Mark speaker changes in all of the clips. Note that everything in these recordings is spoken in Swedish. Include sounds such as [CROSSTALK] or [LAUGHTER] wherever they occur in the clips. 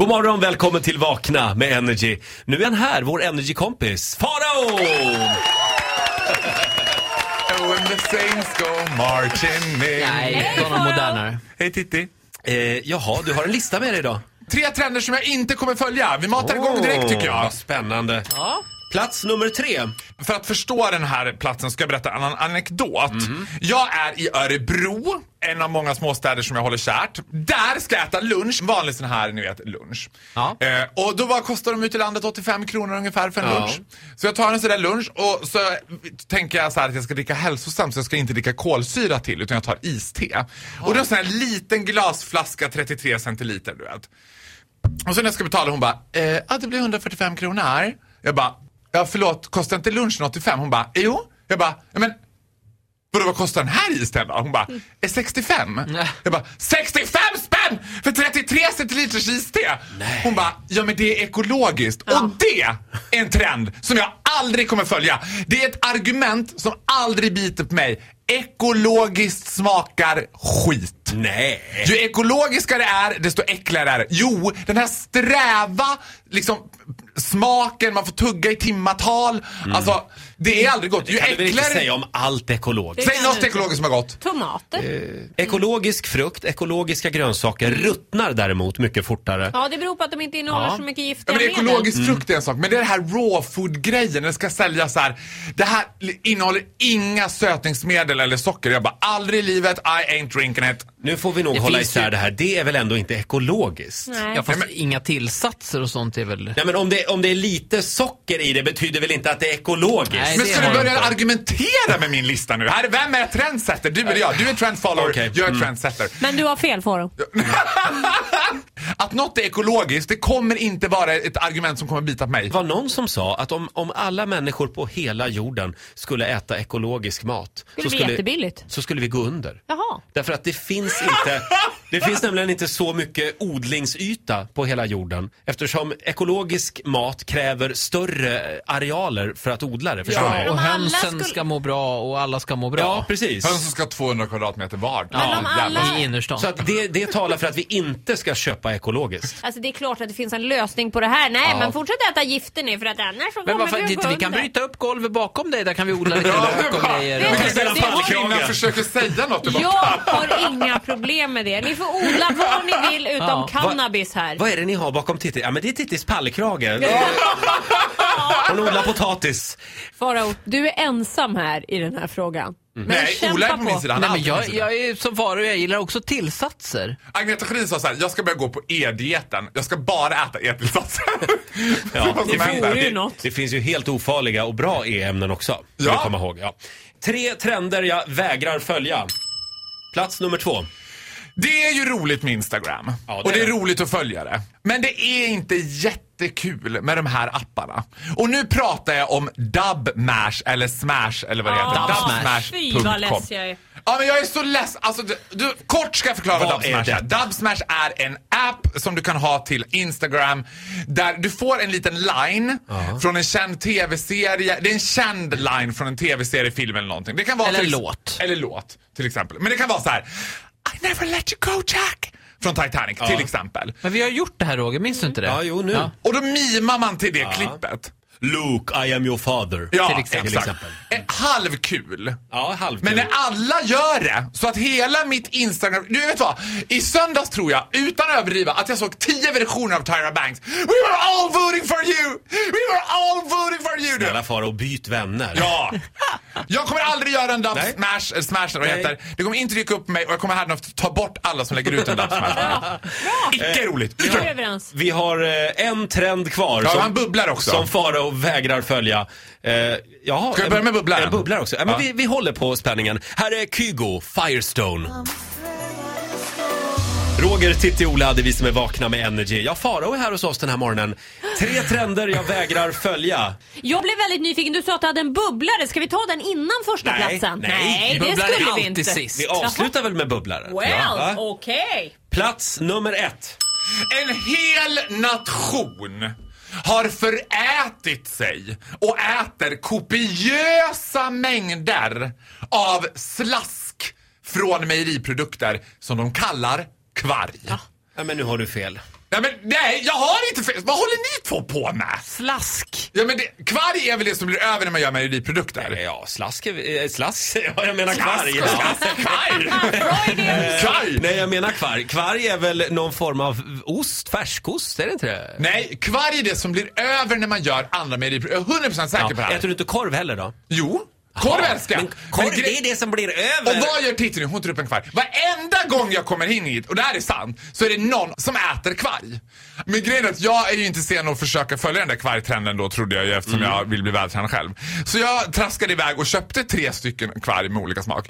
Speaker 1: God morgon, välkommen till Vakna med Energy. Nu är han här, vår Energy-kompis, Farao!
Speaker 2: Oh, and the saints go marching in.
Speaker 3: Nej, det var någon modernare.
Speaker 2: Hej Titti.
Speaker 1: Eh, jaha, du har en lista med dig idag.
Speaker 2: Tre trender som jag inte kommer följa. Vi matar igång direkt tycker jag.
Speaker 3: Oh.
Speaker 1: Vad spännande.
Speaker 3: Ja.
Speaker 1: Plats nummer tre.
Speaker 2: För att förstå den här platsen ska jag berätta en an- anekdot.
Speaker 3: Mhm.
Speaker 2: Jag är i Örebro, en av många småstäder som jag håller kärt. Där ska jag äta lunch, vanlig sån här ni vet lunch.
Speaker 3: Ja.
Speaker 2: Eh, och då var, kostar de ute i landet 85 kronor ungefär för en
Speaker 1: Ja.
Speaker 2: lunch. Så jag tar en sån där lunch och så tänker jag så här att jag ska dricka hälsosamt så jag ska inte dricka kolsyra till utan jag tar iste. Och det är en sån här liten glasflaska 33 centiliter du vet. Och sen när jag ska betala hon bara, eh, ja det blir 145 kronor. Jag bara, ja förlåt, kostar inte lunchen 85? Hon bara, jo. Jag bara, ja men vadå vad kostar den här isen då? Hon bara, eh, 65? Jag bara, 65 spänn för 33 centiliters iste! Hon bara, ja men det är ekologiskt. Och det är en trend som jag aldrig kommer följa. Det är ett argument som aldrig biter på mig. Ekologiskt smakar skit.
Speaker 1: Nej.
Speaker 2: Ju ekologiskare det är, desto äckligare är det. Jo, den här sträva liksom, smaken, man får tugga i timmatal. Alltså, det är aldrig gott. Ju
Speaker 1: Mm. Kan du väl inte
Speaker 2: äckligare...
Speaker 1: säga om allt ekologiskt?
Speaker 2: Säg något ekologiskt som är gott.
Speaker 3: Eh.
Speaker 4: Tomater.
Speaker 1: Ekologisk frukt, ekologiska grönsaker ruttnar däremot mycket fortare.
Speaker 4: Ja, det beror på att de inte innehåller
Speaker 3: Ja.
Speaker 4: så mycket
Speaker 2: Ja,
Speaker 4: giftiga
Speaker 2: men
Speaker 4: medel.
Speaker 2: ekologisk
Speaker 3: Mm.
Speaker 2: frukt är en sak, men det är det här raw food-grejen. Det ska säljas så här. Det här innehåller inga sötningsmedel eller socker. Jag bara, aldrig i livet, I ain't drinking it.
Speaker 1: Nu får vi nog
Speaker 3: Det
Speaker 1: hålla
Speaker 3: finns
Speaker 1: isär
Speaker 3: ju-
Speaker 1: det här. Det är väl ändå inte ekologiskt?
Speaker 4: Nej.
Speaker 3: Ja, fast
Speaker 2: Nej,
Speaker 3: inga tillsatser och sånt är väl...
Speaker 1: Nej men om det, om det är lite socker i det betyder väl inte att det är ekologiskt?
Speaker 3: Nej,
Speaker 2: Men
Speaker 3: det
Speaker 2: ska du
Speaker 3: har jag
Speaker 2: börja
Speaker 3: inte.
Speaker 2: argumentera med min lista nu? Här, vem är trendsetter? Du eller jag? Du är trendfollower,
Speaker 1: Okej.
Speaker 2: jag är
Speaker 3: Mm.
Speaker 2: trendsetter.
Speaker 4: Men du har fel Faro.
Speaker 2: Att något är ekologiskt, det kommer inte vara ett argument som kommer bita på mig.
Speaker 1: Det var någon som sa att om, om alla människor på hela jorden skulle äta ekologisk mat
Speaker 4: Skulle bli jättebilligt.
Speaker 1: så skulle vi gå under.
Speaker 4: Jaha.
Speaker 1: Därför att det finns
Speaker 4: [LAUGHS]
Speaker 1: inte, det finns nämligen inte så mycket odlingsyta på hela jorden eftersom ekologisk mat kräver större arealer för att odla det. Förstår
Speaker 4: Ja.
Speaker 1: ni?
Speaker 4: Om
Speaker 3: Och
Speaker 4: alla
Speaker 3: hönsen
Speaker 4: skulle-
Speaker 3: ska må bra och alla ska må bra.
Speaker 1: Ja, precis.
Speaker 2: Hönsen ska ha 200 kvadratmeter var.
Speaker 4: Men om alla-
Speaker 3: I innerstan.
Speaker 1: Så att det, det talar för att vi inte ska köpa ekologiskt.
Speaker 4: Alltså det är klart att det finns en lösning på det här. Nej, men fortsätt äta gifter nu för att annars så
Speaker 3: men
Speaker 4: kommer
Speaker 3: varför
Speaker 4: vi
Speaker 3: inte?
Speaker 4: gå
Speaker 3: Vi kan
Speaker 4: under.
Speaker 3: bryta upp golvet bakom dig, där kan vi [LAUGHS] odla lite
Speaker 2: Ja,
Speaker 3: lök och
Speaker 2: va?
Speaker 3: grejer.
Speaker 4: Vi
Speaker 3: Och...
Speaker 4: kan
Speaker 1: ställa
Speaker 4: Det var-
Speaker 1: pannkrage.
Speaker 2: Kvinnan försöker säga något. Det var-
Speaker 4: Jag har inga problem med det. Ni får odla vad ni vill utom
Speaker 3: Ja.
Speaker 4: cannabis här.
Speaker 1: Vad är det ni har bakom Titti? Ja men det är Tittis pallkrage. Hon odlar potatis.
Speaker 4: Faro, du är ensam här i den här frågan. Men
Speaker 2: Nej,
Speaker 4: kämpa
Speaker 2: Ola är på min sida. Han
Speaker 3: Nej,
Speaker 2: är
Speaker 3: men
Speaker 2: alltid på min
Speaker 3: jag,
Speaker 2: sida.
Speaker 3: jag är som Farao, jag gillar också tillsatser.
Speaker 2: Agneta Sjödin sa så här, jag ska börja gå på E-dieten. Jag ska bara äta E-tillsatser. [LAUGHS]
Speaker 1: Ja,
Speaker 2: Det var
Speaker 1: det
Speaker 2: som
Speaker 1: finns-
Speaker 2: hände.
Speaker 4: vore ju något.
Speaker 1: Det finns ju helt ofarliga och bra e-ämnen också. ska
Speaker 2: Ja.
Speaker 1: vi Komma ihåg, ja. Tre trender jag vägrar följa. Plats nummer två.
Speaker 2: Det är ju roligt med Instagram.
Speaker 1: Ja, det
Speaker 2: och det
Speaker 1: är
Speaker 2: är
Speaker 1: det.
Speaker 2: roligt att följa det. Men det är inte jättekul med de här apparna. Och nu pratar jag om Dubmash eller Smash eller vad det
Speaker 1: Ah,
Speaker 2: heter.
Speaker 3: Dubsmash.
Speaker 4: Fy,
Speaker 2: Dubsmash.com.
Speaker 4: vad less jag är.
Speaker 2: Ja men jag är så less. Alltså, du, du, kort ska jag förklara
Speaker 1: Vad
Speaker 2: vad,
Speaker 1: är
Speaker 2: Dubsmash är.
Speaker 1: det?
Speaker 2: Dubsmash är en app som du kan ha till Instagram där du får en liten line från en känd tv-serie. Det är en känd line från en tv-serie, film eller någonting. Det kan vara
Speaker 3: Eller
Speaker 2: till-
Speaker 3: låt.
Speaker 2: Eller låt, till exempel. Men det kan vara så här. I never let you go Jack! Från Titanic, till exempel.
Speaker 3: Men vi har gjort det här Roger, minns du inte det?
Speaker 1: Ja, jo nu.
Speaker 2: Och då mimar man till det klippet.
Speaker 1: Luke, I am your father.
Speaker 2: Ja,
Speaker 3: Till exempel. Mm.
Speaker 2: exakt.
Speaker 1: Till exempel.
Speaker 2: Eh, Halvkul.
Speaker 1: Ja, halvkul.
Speaker 2: Men när alla gör det, så att hela mitt Instagram... Du vet vad? I söndags tror jag, utan att överdriva, att jag såg tio versioner av Tyra Banks. We were all voting for you! We were all voting for you! Du.
Speaker 1: Snälla fara och byt vänner. [LAUGHS]
Speaker 2: Ja! Jag kommer aldrig göra en
Speaker 1: Nej.
Speaker 2: dubsmash, eller smash eller vad det
Speaker 1: Nej.
Speaker 2: heter. Det kommer inte dyka upp på mig och jag kommer härnäst ta bort alla som lägger ut en dubsmash. Icke
Speaker 1: Eh,
Speaker 2: roligt!
Speaker 4: Nu är vi överens.
Speaker 1: Vi har eh, en trend kvar.
Speaker 2: Ja, han bubblar också.
Speaker 1: Som Farao vägrar följa. Eh, jaha,
Speaker 2: Ska vi börja med bubblaren?
Speaker 1: En bubblar också. Ja, men
Speaker 2: Ja.
Speaker 1: vi, vi håller på spänningen. Här är Kygo, Firestone. Roger, Titti, Ola, det är vi som är vakna med Energy. Ja, Farao är här hos oss den här morgonen. Tre trender jag vägrar följa.
Speaker 4: Jag blev väldigt nyfiken. Du sa att du hade en bubblare. Ska vi ta den innan första
Speaker 1: Nej,
Speaker 4: platsen?
Speaker 1: nej.
Speaker 4: det
Speaker 3: Bubblan
Speaker 4: skulle
Speaker 3: är
Speaker 4: vi
Speaker 3: alltid
Speaker 4: inte.
Speaker 3: sist.
Speaker 1: Vi avslutar väl med bubblaren?
Speaker 4: Well,
Speaker 1: Va?
Speaker 4: okej.
Speaker 1: Plats nummer ett.
Speaker 2: En hel nation har förätit sig och äter kopiösa mängder av slask från mejeriprodukter som de kallar kvarg.
Speaker 1: Ja, men nu har du fel.
Speaker 2: Nej, men nej, jag har inte fel. Vad håller ni två på med?
Speaker 3: Slask!
Speaker 2: Ja, men det, kvarg är väl det som blir över när man gör mejeriprodukter?
Speaker 1: Ja, slask, är- eh, slask [LAUGHS] ja, jag menar
Speaker 2: Slask
Speaker 1: kvarg.
Speaker 2: och
Speaker 1: Ja.
Speaker 2: slask, Kvarg! Kvarg!
Speaker 1: Eh, Nej, jag menar kvarg. Kvarg är väl någon form av ost, färskost, är det inte det?
Speaker 2: Nej, kvarg är det som blir över när man gör andra mejeriprodukter. Jag är 100% säker på det typ här.
Speaker 1: Äter du inte korv heller då?
Speaker 2: Jo, korv älskar jag.
Speaker 1: Men korv,
Speaker 2: Men gre-
Speaker 1: det är det som blir över.
Speaker 2: Och vad gör Titti nu? Hon tar upp en kvarg. Varenda gång jag kommer in hit, och det här är sant, så är det någon som äter kvarg. Men grejen är att jag är ju inte sen att försöka följa den där kvargtrenden då trodde jag ju eftersom
Speaker 1: Mm.
Speaker 2: jag vill bli vältränad själv. Så jag traskade iväg och köpte tre stycken kvarg med olika smak.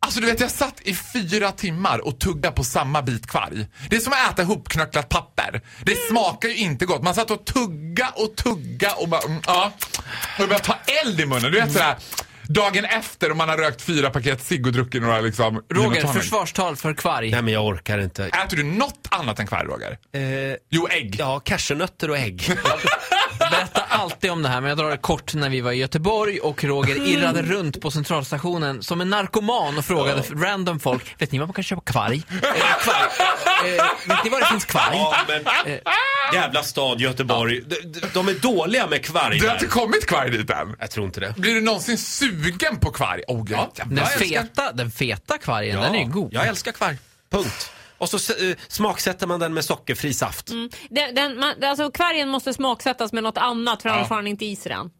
Speaker 2: Alltså du vet jag satt i fyra timmar och tuggade på samma bit kvarg. Det är som att äta ihopknöcklat papper. Det
Speaker 3: Mm.
Speaker 2: smakar ju inte gott. Man satt och tugga och tugga och bara, mm, ja. Och det började ta eld i munnen. Du
Speaker 3: Mm.
Speaker 2: vet sådär dagen efter och man har rökt fyra paket cigg och druckit några liksom.
Speaker 3: Roger,
Speaker 2: gin och tonic.
Speaker 3: försvarstal för kvarg.
Speaker 1: Nej, men jag orkar inte.
Speaker 2: Äter du något annat än kvarg Roger?
Speaker 1: Eh,
Speaker 2: Jo, ägg.
Speaker 1: ja, cashewnötter och ägg.
Speaker 3: Berätta alltid om det här, men jag drar det kort när vi var i Göteborg och Roger
Speaker 2: Mm.
Speaker 3: irrade runt på centralstationen som en narkoman och frågade random folk, vet ni var man kan köpa kvarg? Eh, kvarg. Eh, vet ni var det finns kvarg?
Speaker 1: Ja, men, jävla stad Göteborg. Eh. De, de- de är dåliga med kvarg
Speaker 2: Du har
Speaker 1: där.
Speaker 2: inte kommit kvarg dit än?
Speaker 1: Jag tror inte det.
Speaker 2: Blir du någonsin sugen på kvarg? Oh, ja. jävlar,
Speaker 3: Den
Speaker 2: jag älskar-
Speaker 3: feta, den feta kvargen, den är ju god.
Speaker 1: Jag älskar kvarg. Punkt. Och så eh, smaksätter man den med sockerfri saft.
Speaker 4: [LAUGHS]
Speaker 2: Mm.
Speaker 4: Den, den, man, alltså, kvargen måste smaksättas med något annat för annars får han inte i sig den.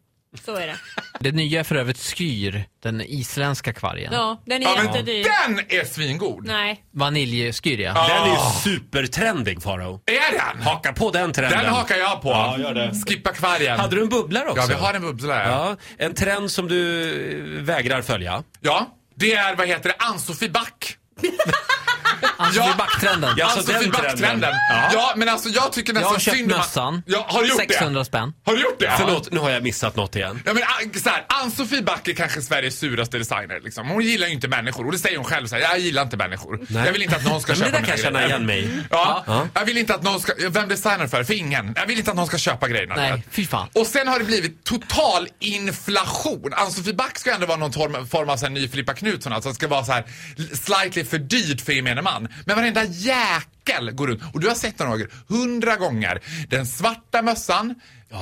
Speaker 4: Så är det.
Speaker 3: Det nya är för övrigt skyr, den isländska kvargen.
Speaker 4: Ja, den är
Speaker 2: Ja, men
Speaker 4: jättedyr.
Speaker 2: den är svingod.
Speaker 4: Nej.
Speaker 3: Vaniljskyr ja.
Speaker 1: Den är
Speaker 2: Ah.
Speaker 1: ju supertrendig Farao.
Speaker 2: Är den?
Speaker 1: Haka på den trenden.
Speaker 2: Den hakar jag på.
Speaker 1: Ja, gör det.
Speaker 2: Skippa kvargen.
Speaker 1: Hade du en bubblare också?
Speaker 2: Ja, vi har en bubbla. Ja.
Speaker 1: Ja, en trend som du eh, vägrar följa.
Speaker 2: ja, det är vad heter det? Ann-Sofie Back.
Speaker 3: Alltså
Speaker 2: Ja.
Speaker 3: det är backtrenden.
Speaker 1: Ja. Alltså,
Speaker 2: Ann-Sofie
Speaker 1: den
Speaker 2: Back-trenden.
Speaker 1: trenden.
Speaker 2: Ja. men alltså jag tycker
Speaker 3: Jag
Speaker 2: nästan
Speaker 3: har köpt
Speaker 2: synd om-
Speaker 3: mössan.
Speaker 2: Ja, har du gjort
Speaker 3: 600
Speaker 2: det?
Speaker 3: spänn.
Speaker 2: Har du gjort det?
Speaker 1: Förlåt, nu har jag missat något igen.
Speaker 2: Ja, men, ah, så här, Ann-Sofie Back är kanske Sveriges suraste designer. Liksom. Hon gillar ju inte människor. Och det säger hon själv. Så här, jag gillar inte människor.
Speaker 1: Nej.
Speaker 2: Jag vill inte att någon ska
Speaker 1: Men det
Speaker 2: köpa
Speaker 1: där
Speaker 2: mina
Speaker 1: kan jag känna
Speaker 2: grejer.
Speaker 1: igen mig i.
Speaker 2: Ja. Jag vill inte att någon ska... Vem designar för? För ingen. Jag vill inte att någon ska köpa grejerna.
Speaker 3: Nej, fy fan.
Speaker 2: Och sen har det blivit total inflation. Ann-Sofie Back ska ändå vara någon form, form av så här ny Filippa Knutsson. Alltså det ska vara så här slightly för dyrt för gemene man. Men varenda jäkel går runt. Och du har sett den Roger, hundra gånger. Den svarta mössan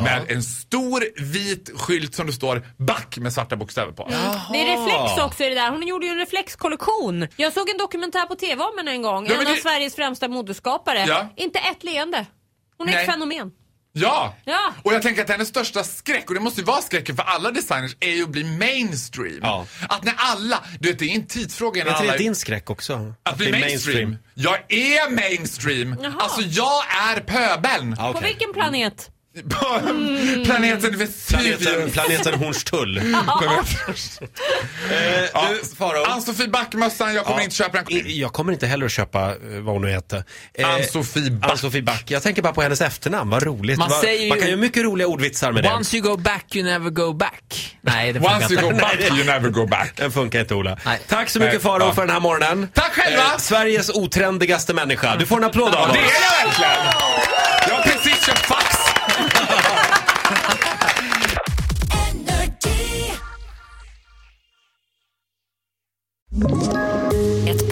Speaker 2: med en stor vit skylt som det står Back med svarta bokstäver på.
Speaker 4: Det är reflex också i det där. Hon gjorde ju en reflexkollektion. Jag såg en dokumentär på TV om henne en gång.
Speaker 2: Ja, men
Speaker 4: en av
Speaker 2: det-
Speaker 4: Sveriges främsta modeskapare.
Speaker 2: Ja.
Speaker 4: Inte ett leende. Hon är
Speaker 2: Nej.
Speaker 4: ett fenomen.
Speaker 2: Ja.
Speaker 4: Ja.
Speaker 2: Och jag tänker att hennes största skräck, och det måste ju vara skräcken för alla designers, är ju att bli mainstream.
Speaker 1: Ja.
Speaker 2: Att när alla, du vet det är en tidsfråga innan
Speaker 1: Är inte
Speaker 2: alla...
Speaker 1: det din skräck också?
Speaker 2: Att bli mainstream. Jag är mainstream!
Speaker 4: Jaha.
Speaker 2: Alltså jag är pöbeln!
Speaker 1: Ja,
Speaker 4: På
Speaker 1: okej.
Speaker 4: vilken planet?
Speaker 2: [LAUGHS] På Planeten
Speaker 1: Planeten,
Speaker 2: Vesuvius.
Speaker 1: planeten
Speaker 2: [LAUGHS]
Speaker 1: Hornstull. Eh, du, Farao.
Speaker 2: Ann-Sofie Backmössan, jag kommer inte köpa den.
Speaker 1: I- Jag kommer inte heller köpa eh, vad hon nu hette. Eh,
Speaker 2: Ann-Sofie Back.
Speaker 1: Ann-Sofie Back. Jag tänker bara på hennes efternamn, vad roligt.
Speaker 3: Man
Speaker 1: Man,
Speaker 3: säger ju-
Speaker 1: man kan göra mycket roliga ordvitsar med det.
Speaker 3: Once you go back you never go back. Nej, det funkar
Speaker 2: Once you go
Speaker 3: inte.
Speaker 2: back you never go back.
Speaker 1: Den funkar inte Ola.
Speaker 3: Nej.
Speaker 1: Tack så mycket
Speaker 2: Nej,
Speaker 1: Farao
Speaker 2: ja.
Speaker 1: för den här morgonen. Eh,
Speaker 2: Tack själva.
Speaker 1: Sveriges otrendigaste människa. Du får en applåd av
Speaker 2: Ja,
Speaker 1: oss.
Speaker 2: det är jag verkligen! Jag har precis köpt fax!
Speaker 5: Ett